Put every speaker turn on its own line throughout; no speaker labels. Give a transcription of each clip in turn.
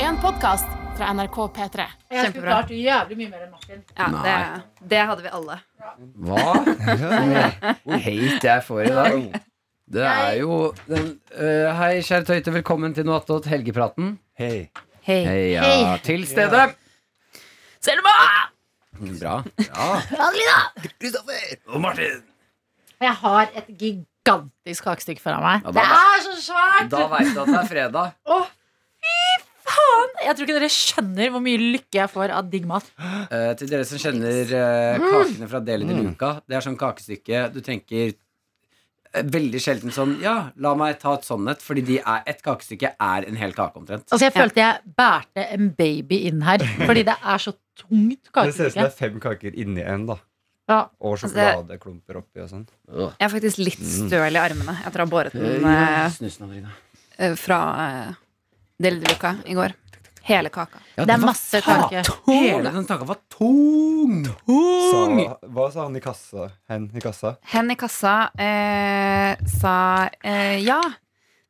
en podkast fra NRK P3.
Jeg skulle
Kjempebra.
klart jævlig mye mer enn Martin.
Ja, det,
Nei.
det hadde vi alle.
Hva? Hvor hate jeg får i dag. Det er jo den, eh, Hei, kjære Tøyte. Velkommen til noe attåt helgepraten.
Hei.
Hei.
Heia
Hei.
til stede.
Selma!
Bra. Ja.
Kristoffer! Og Martin!
Jeg har et gigantisk kakestykke foran meg.
Ja, da-
det er så svært!
Da veit du at det er fredag.
Jeg tror ikke dere skjønner hvor mye lykke jeg får av digg mat.
Eh, til dere som kjenner eh, kakene fra Deli de
Mm.
Luca. Det er sånn kakestykke du tenker eh, veldig sjelden sånn Ja, la meg ta et sånn et, fordi de er, et kakestykke er en hel kake omtrent.
Altså, jeg følte jeg bærte en baby inn her, fordi det er så tungt
Det ser ut som
kakestykke.
det er fem kaker inni en, da.
Ja.
Og
Altså, det-
sjokoladeklumper oppi og sånn.
Jeg er faktisk litt støl i armene etter å ha båret den
Mm. Ja,
eh,
snusen over i dag.
eh, fra eh, Del Luca i går. Hele kaka.
Ja,
Det
den
er
var
masse kake.
tung. Hele den tanken var tung! Tung!
Sa- Hva sa han i kassa? Hen i kassa?
Hen i kassa eh, sa eh, ja,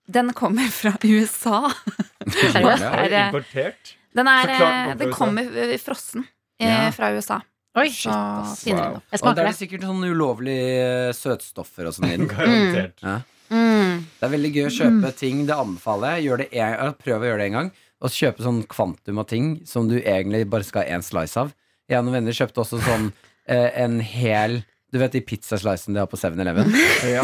den kommer fra USA.
Seriøst?
Ja.
Er
Er eh,
det
det-
importert?
Den, er,
Så klart
eh,
den
den
kommer
kommer eh, frossen eh,
Ja.
fra USA.
Oi,
Så
finner
finner vi
du noe.
den
Jeg
Og da
smaker
er det
det.
sikkert sånne ulovlige eh, søtstoffer og sånn i den.
Garantert.
Mm.
Det er veldig gøy å kjøpe ting. Det anbefaler jeg. Gjør det en, ja, prøv å gjøre det en gang. Og så kjøpe sånn kvantum av ting som du egentlig bare skal ha én slice av. Jeg og noen venner kjøpte også sånn eh, en hel Du vet de pizzaslicene de har på 7-Eleven?
Ja.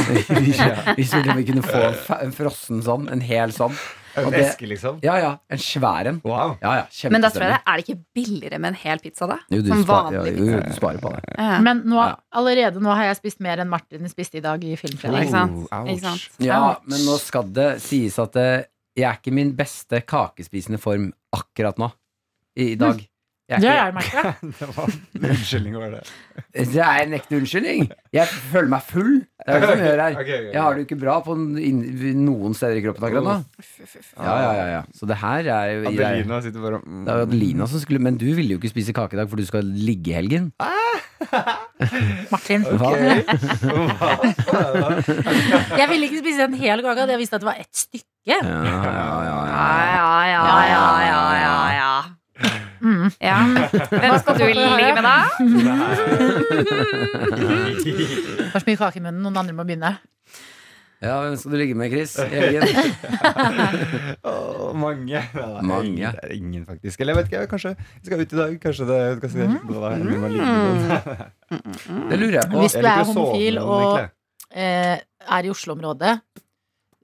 Vi spurte om vi kunne få en fa- en frossen sånn. En hel sånn. Og
En
det-
eske, liksom?
Ja ja, en svær en.
Wow.
Ja, ja,
Men da tror jeg det er det ikke billigere med en hel pizza, da?
jo, du
Som
spar- ja,
vanlig
jo, jo, du sparer på det.
Ja.
Men nå,
Ja.
allerede nå har jeg spist mer enn Martin spiste i dag i Filmfredag.
Oh,
Ikke sant?
ouch.
Ikke sant?
Ja, men nå skal det sies at eh, jeg er ikke min beste kakespisende form akkurat nå. I,
Hm.
i dag. Jeg
Det
ikke-
har jeg merket.
Det var Unnskyldning var det.
Det er en ekte unnskyldning. Jeg føler meg full. Det er det som gjør her.
Ok, ok, ok.
Jeg har det jo ikke bra på n- inn- noen steder i kroppen akkurat nå. Ja, ja, ja, ja. Så det her er jo i deg.
Adelina sitter bare
Det er jo Adelina som skulle Men du ville jo ikke spise kake i dag, for du skal ligge i helgen.
Ah,
Martin.
Hva?
Jeg ville ikke spise en hel kake, hadde jeg visste at det var ett stykke.
Ja, ja, ja,
Ja, ja, ja,
ja.
ja, ja, ja, ja.
Mm.
ja. Hvem skal du ligge med, da?
Det var så mye kake i munnen, noen andre må begynne.
ja hvem skal du ligge med, Chris? I helgen?
Åh, mange. Ja,
Mange.
ingen- Det er ingen, faktisk. Eller jeg vet ikke, jeg- kanskje vi skal ut i dag. Kanskje det kanskje det- det var en man liker noen.
Det lurer jeg på.
Hvis
Jeg
du
liker
er
å sove med
homofil
noen,
og
egentlig.
eh, er i Oslo-området,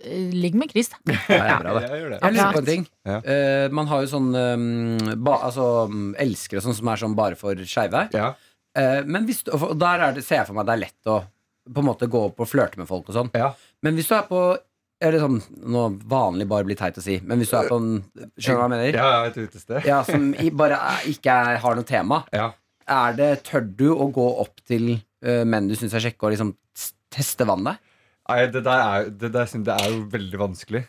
eh, ligg med Chris. da.
Det er bra, det.
Jeg gjør det.
Jeg lurer
Absolutt.
på en ting.
Ja.
Eh, man har jo sånn um, ba, altså, mm, elskere og sånn som er sånn bare for skeive.
Ja.
Eh, men hvis du, og der er det, ser jeg for meg det er lett å på en måte gå opp og flørte med folk og sånn.
Ja.
Men hvis du er på eller sånn, nå vanlig bare blir teit å si, men hvis du er på en Skjønner du hva jeg mener?
Ja, et utested.
Ja, som i, bare er, ikke er, har noe tema.
Ja.
Er det, Tør du å gå opp til eh, menn du syns er kjekke, og liksom s- teste vannet?
Nei, det der er, jo- det der, synes jeg er jo veldig vanskelig.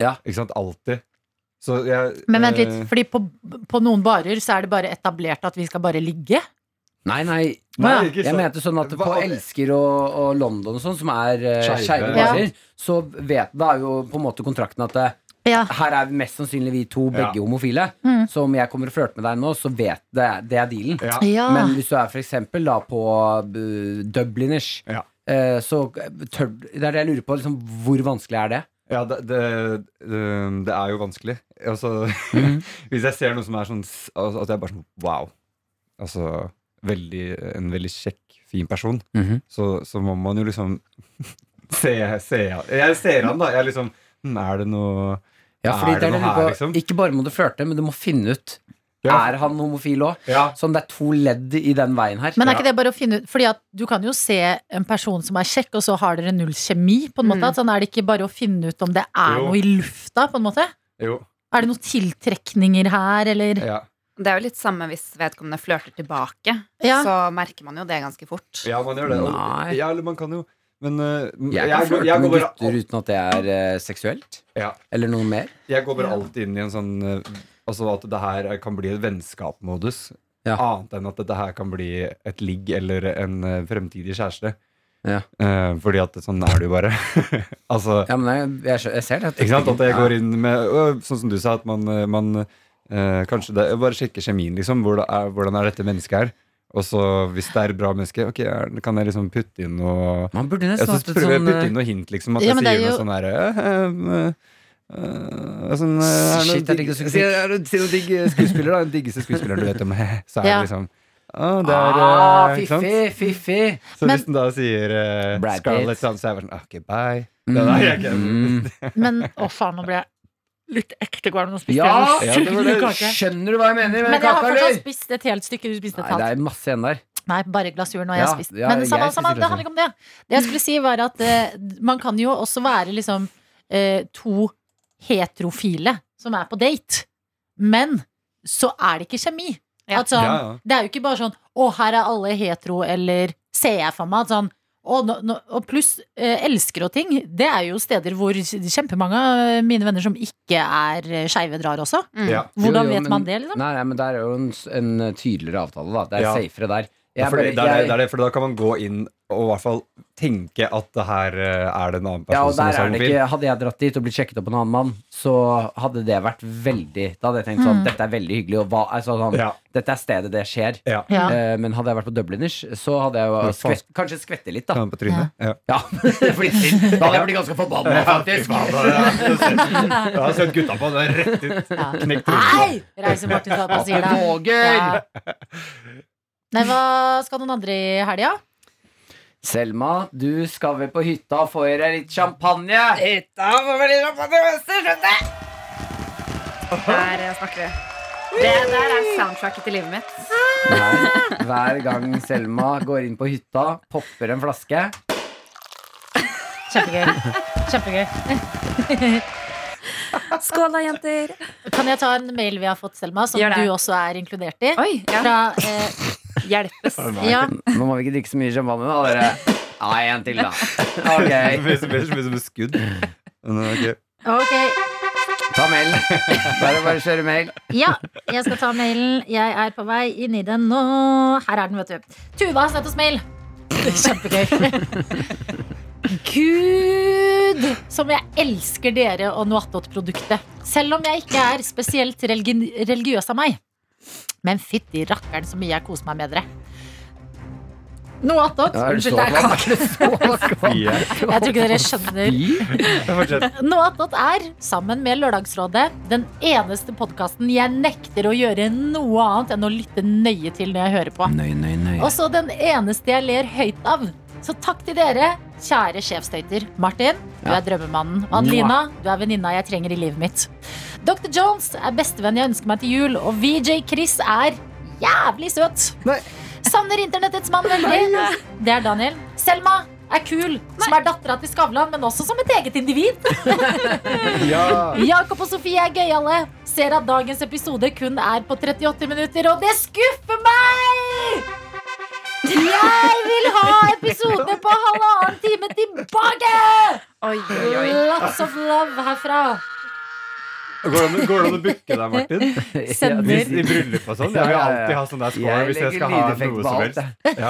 Ja.
Ikke sant? Alltid. Så jeg
Men vent litt,
eh,
fordi på, på noen barer så er det bare etablert at vi skal bare ligge.
Nei, nei.
Nei, ikke
Jeg
sant.
mente sånn at på
Hva-
Elsker og, og London og sånn, som er uh,
Skeive.
skeive
Ja.
barer, så vet, da er jo på en måte kontrakten at det, her er mest sannsynlig vi to begge
Ja.
homofile.
Mm.
Så om jeg kommer og flørter med deg nå, så vet det, det er dealen.
eh, ja.
Ja.
Men hvis du er for eksempel da på eh, Dubliners,
Ja.
eh, så tør Det er det jeg lurer på. Liksom, hvor vanskelig er det?
Ja, det, det, det, det er jo vanskelig. Altså,
Mhm.
hvis jeg ser noe som er sånn s- altså, At jeg er bare sånn wow. Altså veldig, en veldig kjekk, fin person. Så, så må man jo liksom se, se han. Jeg ser han, da. Jeg liksom hm, Er det noe
Ja, fordi
Er
det
det
er det jeg
noe
lurer
her,
på.
liksom?
Ikke bare må du flørte, men du må finne ut
Ja.
Er han homofil òg.
Ja.
Sånn, det er to ledd i den veien her.
Men er ikke det bare å finne ut Fordi at du kan jo se en person som er kjekk, og så har dere null kjemi, på en måte.
Mm.
At Sånn er det ikke bare å finne ut om det er
Jo.
noe i lufta, på en måte.
Jo.
Er det noen tiltrekninger her, eller
Ja.
Det er jo litt samme hvis vedkommende flørter tilbake.
Ja.
Så merker man jo det ganske fort.
ja, man gjør det. Og-
Nei.
Ja, eller man kan jo Men eh,
Jeg kan
går-
flørte
jeg
med
går bare
gutter uten at det er eh, seksuelt.
Ja.
Eller noe mer.
Jeg går bare alltid inn i en sånn eh, Altså at det her kan bli et vennskapmodus.
Ja.
Annet enn at dette her kan bli et ligg eller en eh, fremtidig kjæreste.
Ja.
Eh, fordi at sånn er det jo bare. altså,
Ja, men jeg, jeg, skjø- jeg ser det.
ikke sant? At jeg
Ja.
går inn med øh, Sånn som du sa, at man, eh, man Eh, kanskje det, jeg Bare sjekke kjemien, liksom. Hvordan er, hvordan er dette mennesket her? Og så hvis det er et bra menneske, ok, er- kan jeg liksom putte inn noe
Man burde
Jeg
nesten
så
hatt et
prøver jeg å
sånn
putte
eh,
inn noe hint, liksom. At
Ja,
jeg
men det
sier
er
noe
jo-
sånn herre øh, sånn, eh, er det noe
Shit, jeg
digg-
liker å synge
Si er det- si noen digg eh, skuespiller, da. Den diggeste skuespilleren du vet om. Så er
Ja.
det liksom Å, det er
Ah,
eh, ikke sant?
Fiffi, fiffi!
Så
Men-
hvis den da sier eh,
Brad Pitt.
Scarlett sånn, så er jeg bare sånn Ok, bye. Det er jeg ikke.
Mm.
Men å faen, nå ble jeg litt ekte kvalm. Nå spiste
Ja,
jeg
ja,
en
det var
sugelig
det.
kake.
Skjønner du hva jeg mener
Men
med
jeg har
kaka,
fortsatt
eller?
spist et helt stykke. Du spiste et
Nei,
halvt.
det er masse igjen der.
Nei, bare glasuren har jeg
Ja,
spist.
ja,
Men
jeg
samme,
spiser
samme, det
glasuren.
handler ikke om det. Det jeg skulle si, var at eh, man kan jo også være liksom eh, to heterofile som er på date, men så er det ikke kjemi.
Ja.
At sånn,
Ja, ja.
Det er jo ikke bare sånn 'Å, her er alle hetero', eller ser jeg for meg at sånn og, nå- nå- og pluss eh, elsker og ting. Det er jo steder hvor kjempemange av mine venner som ikke er eh, skeive, drar også.
Mm.
Ja.
Hvordan
Jo, jo,
vet
men-
man det, liksom?
Nei, nei, men der er jo en, s- en tydeligere avtale, da. Det er
Ja.
safere der.
Ja,
Jeg
for det, det,
bare-
er det,
jeg-
det er det, for da kan man gå inn og i hvert fall tenke at det her eh, er det en annen person
Ja, og
som
der
også
er
er
det
homofil.
ikke Hadde jeg dratt dit og blitt sjekket opp av en annen mann, så hadde det vært veldig Da hadde jeg tenkt sånn Dette er veldig hyggelig, og hva altså, sånn,
Ja.
Dette er stedet det skjer.
Ja.
Ja.
Eh, men hadde jeg vært på Dubliners, så hadde jeg jo
Hva faen?
skvett, kanskje skvette litt,
Kan
da.
han på trynet? Ja.
Ja, flytt inn. Da hadde jeg blitt ganske forbanna, faktisk.
Jeg har sett gutta på det rett ut.
Ja.
Knekt
Nei! Reiser Martin til at man sier det.
Våger!
Ja. Nei, hva skal noen andre i helga?
Selma, du skal vel på hytta og få i deg litt champagne?
Der eh, snakker vi. Det der er soundtracket til livet mitt.
Nei. Hver gang Selma går inn på hytta, popper en flaske.
Kjempegøy. Kjempegøy.
Skål da, jenter.
Kan jeg ta en mail vi har fått, Selma, som
Gjør det.
du også er inkludert i?
Oi, ja.
Fra eh,
Hjelpes.
Ja.
Nå må vi ikke drikke så mye champagne, da, dere. Ja, en til, da. Ok.
Det blir så mye som et skudd. Men, eh, ok.
Ok.
Ta mail. Bare bare kjøre mail.
Ja, jeg skal ta mailen. Jeg er på vei inn i den nå. Her er den, vet du. Tuva har sendt oss mail. Kjempegøy. Gud, som jeg elsker dere og Noatot-produktet. Selv om jeg ikke er spesielt religi religiøs av meg. Men fytti rakkeren så mye jeg koser meg med dere. Noatot.
Ja, er det
Unnskyld, det er
såpass?
kake.
Ja.
Jeg tror ikke dere skjønner
Fortsett.
Noatot er, sammen med Lørdagsrådet, den eneste podkasten jeg nekter å gjøre noe annet enn å lytte nøye til når jeg hører på.
Nøy, nøy, nøy.
Også den eneste jeg ler høyt av. Så takk til dere, kjære sjefstøyter. Martin, du
Ja.
er drømmemannen. Og Adelina, du er venninna jeg trenger i livet mitt. Dr. Jones er bestevenn jeg ønsker meg til jul, og VJ Chris er jævlig søt.
Nei.
Savner internettets mann veldig. Det er Daniel. Selma er kul, som er dattera til Skavlan, men også som et eget individ.
Ja.
Jakob og Sofie er gøyale. Ser at dagens episode kun er på 38 minutter, og det skuffer meg! Jeg vil ha episode på halvannen time tilbake!
Oi, oi, oi.
Lots of love herfra.
Går det an å- går det an å booke deg, Martin?
Sender.
Hvis, I bryllup og sånn? Jeg vil
Ja, ja, ja.
alltid ha sånn der score
Jeg
hvis jeg
legger
skal ha
lydeffekt på
noe som
alt,
helst. Ja.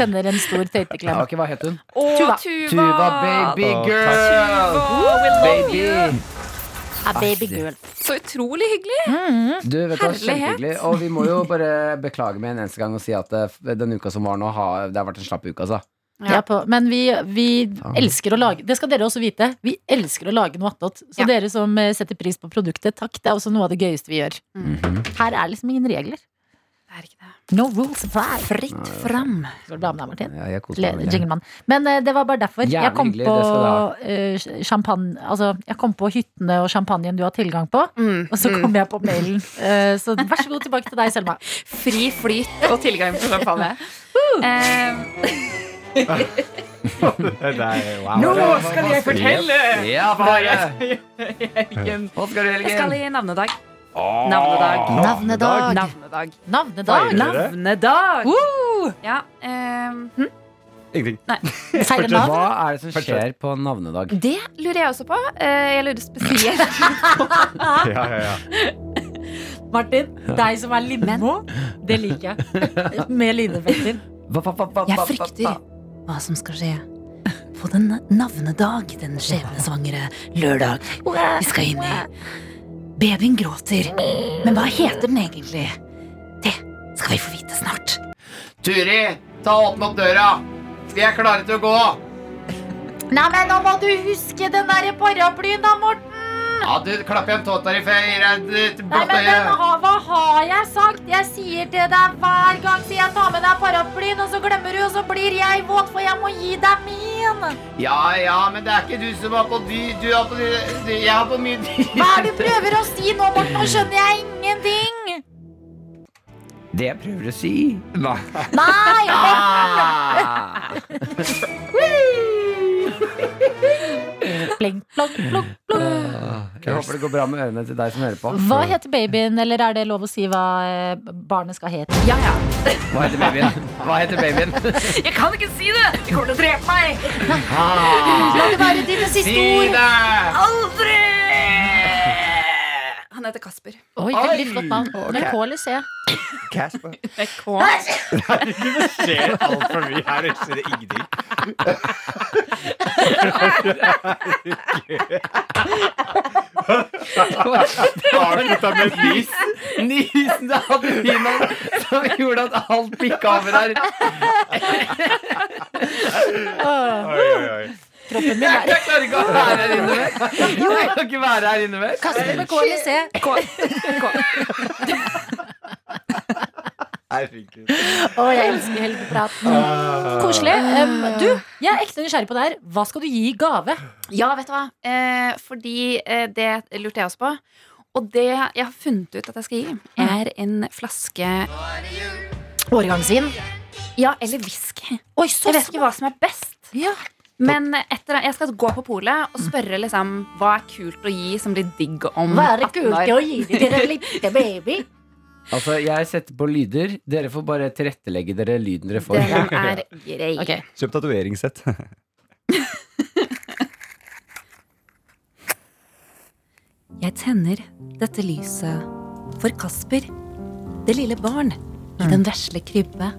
Sender en stor
Ja,
tøyteklem.
ok, hva het hun?
Å,
Tuva.
Tuva.
Tuva baby
Å, takk.
girl!
Tuva, we love
Baby!
you.
A baby girl.
Så utrolig hyggelig.
Du, vet du, hva,
Herlighet.
kjempehyggelig. Og vi må jo bare beklage med en eneste gang og si at eh, den uka som var nå, har, det har vært en slapp uke, altså.
Ja, på. Men vi, vi elsker å lage Det skal dere også vite. Vi elsker å lage noe attåt. Så
Ja.
dere som eh, setter pris på produktet, takk. Det er også noe av det gøyeste vi gjør. Her er liksom ingen regler.
Det er ikke det.
No rules apply.
Fritt fram.
Skal du ha med deg, Martin?
Ja, jeg koser
Le-
meg veldig.
Jinglemann. Men eh, det var bare derfor.
Jævlig
jeg kom
hyggelig,
på
det skal
eh, champagne Altså, jeg kom på hyttene og champagnen du har tilgang på,
Mm.
og så kom jeg på mailen. Eh, så vær så god tilbake til deg, Selma.
Fri flyt og tilgang på champagne. Eh,
Det er, wow.
skal jeg fortelle! Ja, bare! Hva skal du i
jeg skal
helgen?
i navnedag.
Ah,
Navnedag.
Navnedag.
Navnedag.
Navnedag.
Feirer dere?
Navnedag.
Woo!
Ja, eh, hm,
Ingenting.
Feirer navn.
Hva er det som skjer på navnedag?
det lurer jeg også på. Eh, jeg lurer spesielt
Ah.
Ja, ja, ja.
Martin, deg som er Lindmo, det liker jeg. Med lydeffekter.
Hva- hva- hva- hva- hva-
Jeg
hva-
frykter hva som skal skje på den navnedag, den skjebnesvangre lørdag. Vi skal inn i Babyen gråter. Men hva heter den egentlig? Det skal vi få vite snart.
Turi, ta åpne opp døra! Vi er klare til å gå!
Nei, men nå må du huske den der paraplyen, da, Morten.
Ja, du, Klapp igjen tåta di, for jeg gir
Nei, men den har, Hva har jeg sagt? Jeg sier til deg hver gang sier jeg tar med deg paraplyen, og så glemmer du, og så blir jeg våt, for jeg må gi deg min.
Ja, ja, men det er ikke du som har på dy... Du har på dy... Jeg har på mye dy...
Hva er det du prøver å si nå, Morten? Nå skjønner jeg ingenting.
Det jeg prøver å si.
Nei.
Nei, Morten.
Ah!
Blink, blunk, blunk, blunk.
Jeg håper det går bra med ørene til deg som hører på.
Hva heter babyen, eller er det lov å si hva eh, barnet skal hete?
Ja, ja.
Hva heter babyen? Hva heter babyen?
Jeg kan ikke si det! De kommer til å drepe meg!
La det være dine siste ord.
Ah! det!
Aldri! Han heter Kasper.
Oi, veldig flott navn. Med K eller C?
Casper.
Med K.
Skjer altfor mye her, og skjer det ingenting. Avslutta med et lys.
Nysen til Adelina som gjorde at alt gikk av der.
Oi, oi, oi.
Kroppen min
Jeg
er
klarer ikke å være her inne mer. Jeg kan ikke være her inne mer.
Kasper med K eller C.
Herregud.
Å, jeg elsker helgepraten. Koselig. Um, du, jeg er ekte nysgjerrig på det her. Hva skal du gi i gave?
Ja, vet du hva? Eh, fordi eh, det lurte jeg også på. Og det jeg har funnet ut at jeg skal gi, er en flaske
Årgangsvin.
Ja, eller whisky.
Oi, så
Jeg vet ikke hva som er best.
Ja.
Men etter, jeg skal gå på polet og spørre liksom, hva er kult å gi som blir digg om
Hva er det
18
kult
år?
i å gi det til en liten baby?
Altså, jeg setter på lyder. Dere får bare tilrettelegge dere lyden dere får.
Den er grei.
Ok.
Kjøp tatoveringssett.
Jeg tenner dette lyset for Kasper, det lille barn i den vesle krybbe.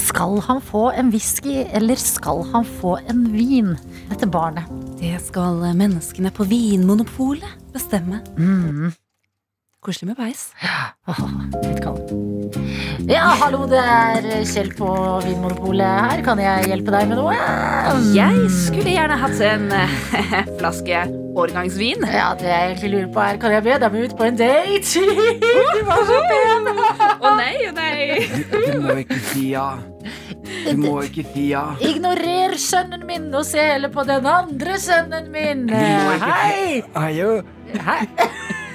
Skal han få en whisky, eller skal han få en vin? Dette barnet.
Det skal menneskene på Vinmonopolet bestemme. Koselig med beis.
Åh, litt kald. Ja, hallo, det er Kjell på Vinmonopolet her. Kan jeg hjelpe deg med noe?
Jeg skulle gjerne hatt en eh, flaske årgangsvin.
Ja, det jeg egentlig lurer på er, kan jeg be deg med ut på en date? Du var så pen!
Å nei, å nei.
Du må ikke si ja. Du må ikke si ja.
Ignorer sønnen min og se heller på den andre sønnen min.
må ikke-
Hei! Hei!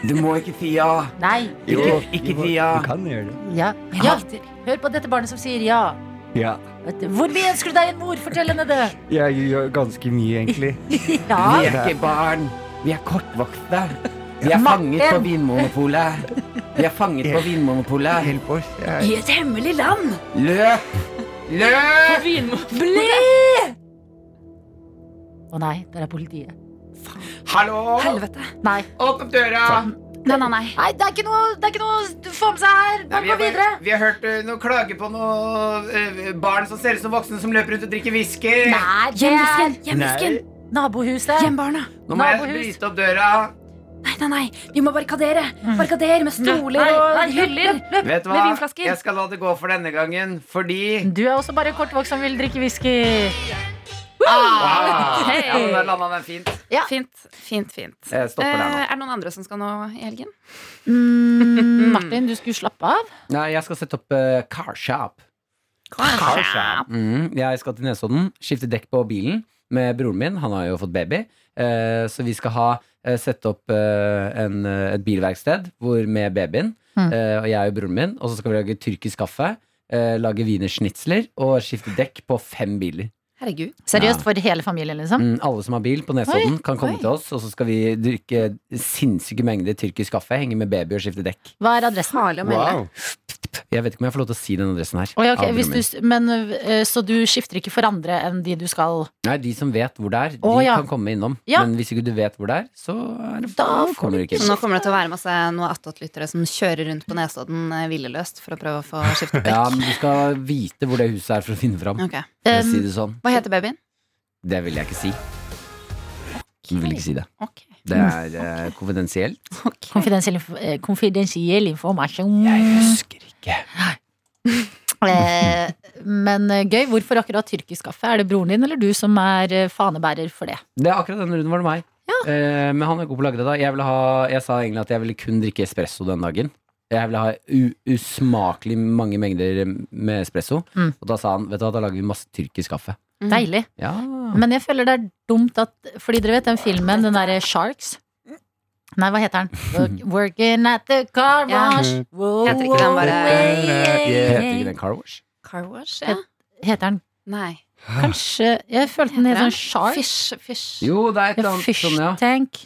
Du må ikke si ja.
Nei.
Ikke, ikke si ja.
Du kan gjøre det.
Ja.
Jeg
ja.
hater
Hør på dette barnet som sier ja.
Ja.
Hvor mye ønsker du deg en mor? Fortell henne det.
Jeg gjør ganske mye, egentlig.
Ja.
Vi er ikke barn. Vi er kortvokste. Vi er fanget på Vinmonopolet. Vi er fanget på Vinmonopolet.
Hjelp oss. Jeg-
i et hemmelig land.
Løp! Løp!
Å nei, der er politiet.
Hallo!
Helvete.
Nei.
Åpne opp døra!
Nei, nei, nei.
Nei, det er ikke noe, det er ikke noe du får med seg her.
Nei,
Bare
vi,
gå
har,
videre.
bare- vi har hørt eh, noen klager på noen eh, barn som ser ut som voksne som løper rundt og drikker whisky.
Nei, det
Hjem
er
hvisken, hjem hvisken.
nabohuset.
Hjem barna.
Nå må jeg
Nabohus.
bryte opp døra.
Nei, nei, nei. Vi må barrikadere. Barrikadere med stoler
Mm. Nei,
og
nei,
hyller.
Vet du
Med
hva?
vinflasker.
Jeg skal la det gå for denne gangen, fordi
Du er også bare kortvokst som vil drikke whisky.
ah,
Hei.
ja, men Da landa den fint.
Fint, fint, fint.
Jeg
Eh,
stopper der nå.
er det noen andre som skal nå i helgen?
Mm, Martin, du skulle slappe av.
Nei, jeg skal sette opp eh, car shop. Mm, jeg skal til Nesodden, skifte dekk på bilen med broren min. Han har jo fått baby. Eh, så vi skal ha eh, sette opp eh, en, eh, et bilverksted hvor, med babyen.
Mm.
Eh, og jeg og broren min. Og så skal vi lage tyrkisk kaffe. Eh, lage wienersnitsler og skifte dekk på fem biler.
Herregud.
Seriøst, for hele familien, liksom?
Mm, alle som har bil på Nesodden, kan komme til oss. Og så skal vi drikke sinnssyke mengder tyrkisk kaffe, henge med baby og skifte dekk.
Hva er adressen?
Farlig å melde.
Wow.
Jeg vet ikke om jeg får lov til å si den adressen her.
Oi, ok,
av broren
hvis
min.
du, s- men, eh, så du skifter ikke for andre enn de du skal
Nei, de som vet hvor det er, de
Å, ja.
kan komme innom.
Ja.
Men hvis ikke du vet hvor det er, så er det,
Da får
kommer du ikke inn.
Nå kommer det til å være masse noe attåtlyttere som kjører rundt på Nesodden eh, villeløst for å prøve å få skiftet
Ja,
dekk.
men du skal vite hvor det huset er for å finne fram.
Ok.
For å
Um,
si det sånn.
Hva heter babyen?
Det vil jeg ikke si. Jeg vil ikke si det.
Ok.
Det er eh, konfidensielt.
Konfidensiell, inf- eh, konfidensiell informasjon.
husker ikke.
Eh, Men eh, gøy. Hvorfor akkurat tyrkisk kaffe? Er det broren din eller du som er eh, fanebærer for det?
Det er akkurat denne runden var det meg. Eh, men han er god på å lagre det. da Jeg, ville ha, jeg sa egentlig at jeg ville kun drikke espresso den dagen. Jeg ville ha u usmakelig mange mengder med espresso.
Mm.
Og da sa han vet du hva, da lager vi masse tyrkisk kaffe.
Mm.
Deilig.
Ja.
Men jeg føler det er dumt at Fordi dere vet den filmen, den derre Sharks? Nei, hva heter den? Work, working at the car
Ja.
wash. Wow,
Heter ikke den
wow,
bare-
way,
eh,
yeah,
Heter
yeah.
ikke den Car Wash?
Car wash? Ja.
Heter den
Nei.
Ah.
kanskje Jeg følte den het
Heter den?
sånn Shark.
Fish, fish,
Jo, det er
Ja,
et eller annet
Fish
sånn, ja.
Tank.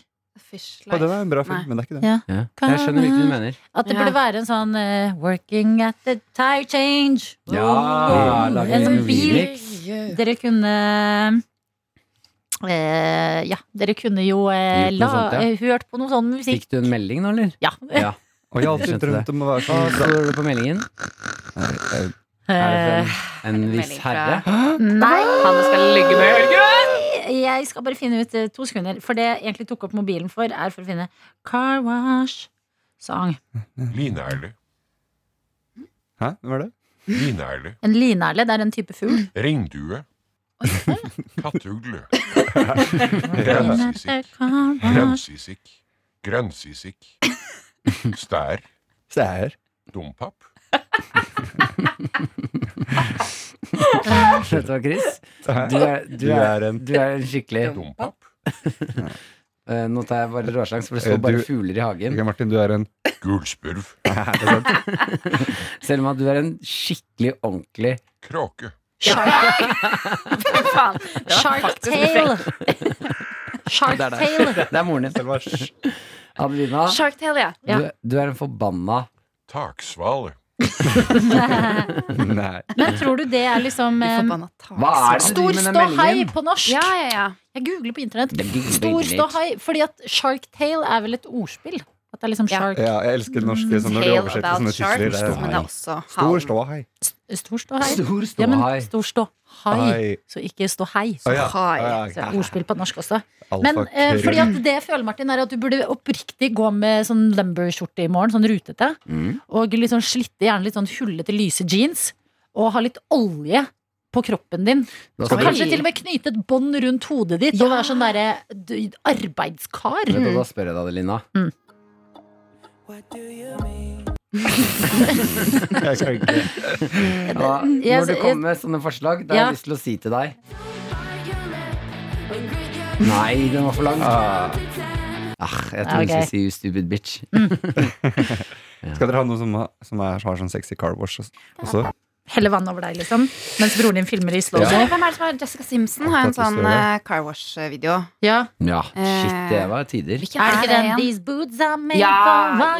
fish
Ja,
life.
det var en bra film,
Nei.
men det er ikke det.
Ja.
ja. Jeg skjønner hvilken du mener.
At det
Ja.
burde være en sånn eh, Working at the tire change.
Ah,
Ja,
Wow.
lager
en sånn
en
bil.
remix.
Dere kunne eh, Ja, dere kunne jo eh,
Gjort noe
la,
sånt, ja.
eh, hørt på noe sånn musikk.
Fikk du en melding nå, eller?
Ja.
Ja.
Og jeg har alltid
Skjønte det.
drømt om å være
Hva
sånn
står det på meldingen? Er det
Eh,
fra en, en viss
melding fra-
herre?
Nei,
Han du skal ligge med Helge!
jeg skal bare finne ut eh, to sekunder. For det jeg egentlig tok opp mobilen for, er for å finne Car Wash-sang.
Linerle.
Hæ, hvem er det?
Linerle.
En linerle, det er en type fugl.
Ringdue. Kattugle.
Linerle,
Grønnsisik.
car wash.
Grønnsisik. Grønnsisik. Stær.
Se her.
Dompap.
Vet du hva, Chris? Du er, du
Du
er,
er en-
du er en skikkelig
Dompap.
Eh, Nå tar jeg bare råsjangs, for det
Eh,
står bare
du-
fugler i hagen.
Ok, Martin, du er en
Gulspurv.
Selma, du er en skikkelig ordentlig
Kråke.
Faen. Det var
Shark
faktisk
Tale. Shark
Det er
Tale.
Det er moren din.
Selma, hysj.
Adelina,
Shark Tale, ja.
Ja.
du, du er en forbanna
Taksvale.
Nei.
Men tror du det er liksom eh,
Uforbanna
Hva er det du
Stor
driver med den
ståhei
meldingen?
på norsk.
Ja, ja, ja.
Jeg googler på internett.
Det googler
Stor
internett.
ståhei. Fordi at Shark Tale er vel et ordspill? At det er liksom
Ja.
shark
Ja, jeg elsker det norske sånn, når de
Tale
oversetter
about
sånne titler.
sharks,
det er- sånn-
men det er også
Stor
halen.
ståhei.
Stor ståhei.
Stor
Ja, men
ståhei.
stor ståhei.
Hei.
Så ikke ståhei.
Å ja.
Hai.
Ja,
Så det
ja,
er Ordspill på norsk også.
alfa
Men eh,
krøll.
fordi at det jeg føler, Martin, er at du burde oppriktig gå med sånn lumber-skjorte i morgen, sånn rutete,
Mm.
og litt sånn slitte, gjerne litt sånn hullete, lyse jeans, og ha litt olje på kroppen din.
Da
Og
skal
Oi.
du,
kanskje til og med knyte et bånd rundt hodet ditt, og være sånn derre d- arbeidskar.
vet du, da spør jeg deg, Adelina.
Mm.
Jeg kan ikke-
Ja,
Mm.
jeg-
når du kommer med sånne forslag, da har
Ja.
jeg lyst til å si til deg Nei, den var for lang. Ah, jeg tror
Ja,
hun skal
ok.
si you stupid bitch.
Mm.
Skal dere ha noe som, har- som er, har sånn sexy car wash også? også?
Helle vann over deg, liksom. Mens broren din filmer i slow
Så
mo.
Hvem er det som har Jessica Simpson? Har en sånn eh, car wash-video.
Ja.
Ja, shit,
Eh,
det var tider.
Hvilken
Er det ikke den
igjen?
These boots are made
Ja!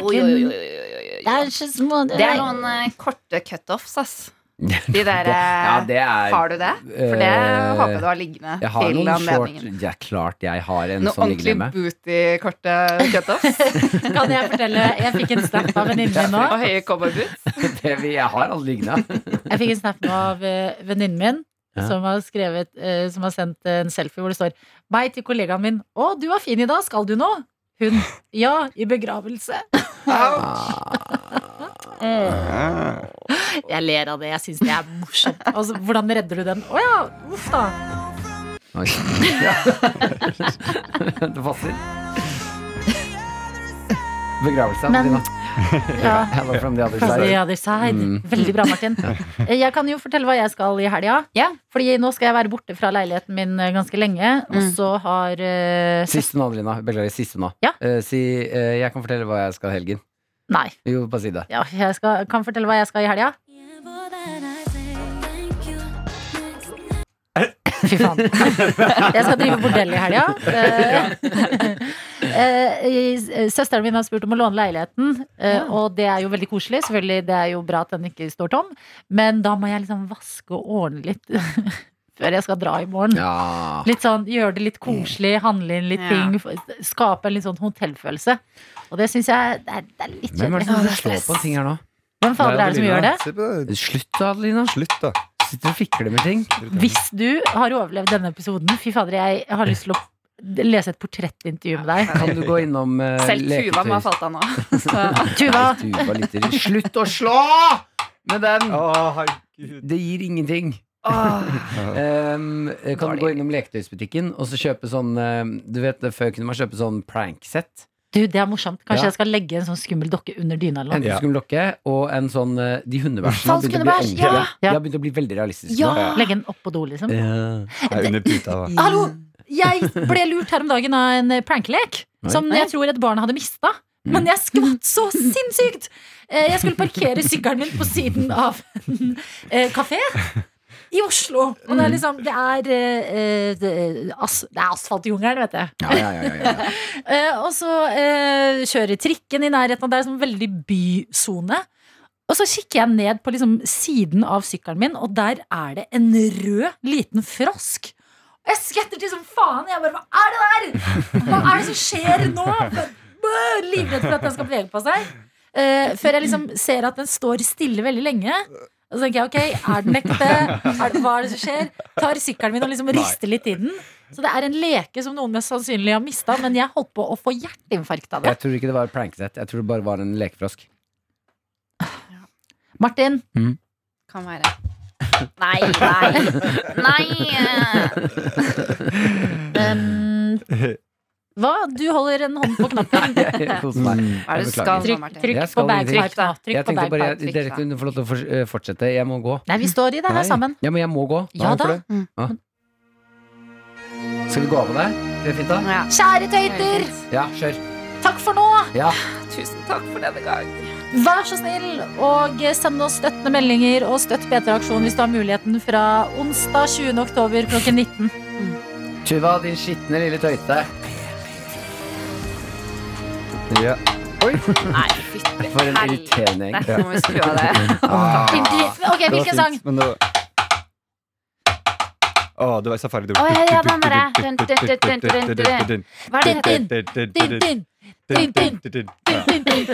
for
Jo, jo, jo,
walking.
jo, jo, jo, jo.
Det er ikke små
Det er noen eh, korte cutoffs, ass. De der eh,
Ja, det er
Har du det? For det
eh,
håper jeg du har liggende
Jeg har
til
noen short
anledningen.
Ja, klart jeg har en
Noen
sånn
ordentlig
liggende.
booty-korte cutoffs
Kan jeg fortelle, jeg fikk en snap av venninnen min nå.
og høye cowboyboots.
Det vi- Jeg har alle liggende.
Jeg fikk en snap nå av eh, venninnen min.
Ja.
Som, har skrevet, eh, som har sendt eh, en selfie hvor det står Meg til kollegaen min. 'Å, du var fin i dag. Skal du nå?' Hun. 'Ja, i begravelse'. Eh. Jeg ler av det. Jeg syns det er morsomt. Altså, hvordan redder du den? 'Å ja, uff da'.
Oi. Ja. Det passer. Begravelse,
Men-
Adelina.
Ja.
Hello from the other
Fra the
side.
other side.
Mm.
Veldig bra, Martin. Eh, Jeg kan jo fortelle hva jeg skal i helga.
Ja.
Fordi nå skal jeg være borte fra leiligheten min eh, ganske lenge. Og
Mm.
så har eh,
Siste nå, Adelina. Beklager, siste nå.
Ja.
Eh, si eh, Jeg kan fortelle hva jeg skal i helgen.
Nei.
Jo, bare si det.
Ja, jeg skal, kan fortelle hva jeg skal i helga. Fy faen. Jeg skal drive bordell i helga. Eh, eh, i- Søsteren min har spurt om å låne leiligheten, eh,
Ja.
og det er jo veldig koselig. Selvfølgelig, Det er jo bra at den ikke står tom, men da må jeg liksom vaske og ordne litt før jeg skal dra i morgen.
Ja.
Litt sånn, Gjøre det litt koselig, handle inn litt
Ja.
ting. f- Skape en litt sånn hotellfølelse. Og det syns jeg det er, det er litt
Hvem er det som
kjedelig.
slår på en ting her nå?
Hvem fader er det som gjør det?
Se på det.
Slutt da, Adelina.
Slutt, da.
Sitter og fikler med ting.
Hvis du har overlevd denne episoden Fy fader, jeg har lyst til å lese et portrettintervju med deg.
Kan du gå innom uh,
Selv Tuva må ha falt av nå. Så,
Tuva,
Tuva lytter. Slutt å slå med den!
Å, herregud.
Det gir ingenting.
åh,
Ehm, kan du gå innom leketøysbutikken og så kjøpe sånn ehm, Du vet, det Før kunne man kjøpe sånn pranksett.
du, det er morsomt. Kanskje
Ja.
jeg skal legge en sånn skummel dokke under dyna eller
En
noe.
Ja.
skumlokke og en sånn eh, De hundebæsjene har
Falsk
begynt å bli
hundebæsj, ja.
ordentlige. De har begynt å bli veldig realistiske. nå.
Ja.
Legge den opp på do, liksom.
Ja.
Jeg er under puta,
Mm,
da.
Hallo! Jeg ble lurt her om dagen av en eh, prankelek
Nei.
som jeg tror et barn hadde mista. Men jeg skvatt så sinnssykt! Eh, Jeg skulle parkere sykkelen min på siden av en eh, kafé i Oslo. Og det er liksom Det er, eh, det- as, det er asfaltjungelen, vet jeg.
Ja, ja, ja, ja, ja.
Eh, Og så eh, kjører trikken i nærheten av der, som sånn veldig bysone. Og så kikker jeg ned på liksom siden av sykkelen min, og der er det en rød liten frosk. Og jeg skvetter til som faen. Jeg bare, Hva er det der?! Hva er det som skjer nå?! Bøh, Livredd for at den skal bevege på seg. Eh, før jeg liksom ser at den står stille veldig lenge. Og så tenker jeg, ok, er den ekte? Er, hva er det som skjer? Tar sykkelen min og liksom rister litt i den. Så det er en leke som noen mest sannsynlig har mista, men jeg holdt på å få hjerteinfarkt av det.
Jeg tror ikke det var et pranksett. Jeg tror det bare var en lekefrosk.
Martin,
kan være. Nei, nei. Nei!
ehm, hva? Du holder en hånd på knappen.
Jeg koser meg.
Hva er det
Jeg
du skal nå,
Trykk,
Martin?
trykk
Jeg
på
skal
bagpipe,
ingenting.
da. Mm. Trykk
Jeg
på
tenkte bare
bagpipe.
trykk,
Dere
da.
kunne få lov til å fors- eh, fortsette. Jeg må gå.
Nei, vi står i det her
Nei.
sammen.
Ja, men jeg må gå.
Ja da. Mm.
Skal vi gå av med deg? Det er fint, da?
Ja,
Kjære tøyter,
Ja, kjør.
takk for nå!
Ja.
tusen takk for denne gang.
Vær så snill og send oss støttende meldinger og støtt P3-aksjonen hvis du har muligheten fra onsdag 20. oktober klokken 19.
Tuva, din skitne lille tøyte.
Ja.
Nei, fytti
For en irriterende gjeng.
Nå må vi skru av det.
Ah,
Ok,
Det var
hvilken
fint,
sang?
Men det var Å, det var safari
Å, ja, ja, den derre. Dun, dun, dun, dun, dun, dun, dun. Hva er det?
Din, din, din, din, din, din, din, din, din, din.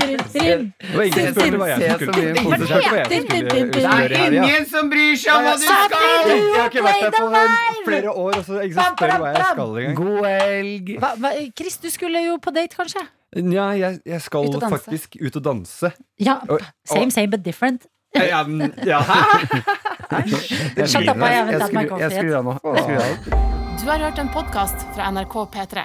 Det var ingen som spurte, det var jeg som skulle. Ingen som spurte hva jeg
Din, din,
skulle
din, din.
gjøre i helga.
som bryr seg
skal!
Jeg har ikke vært der på en- flere år, og så er det ingen som spør hva jeg skal engang.
God helg!
Hva, hva, Chris, du skulle jo på date, kanskje?
Nja, jeg, jeg skal
Ut og danse.
faktisk ut og danse.
Ja,
Og-
Same, same, but different.
Ja, men- ja, hæ?
Jeg
Shut
skrur
up,
av
I haven't
Jeg
done my
skrur- jeg
coffee yet.
skrur av nå. Jeg skrur av.
Du har hørt en podkast fra NRK P3.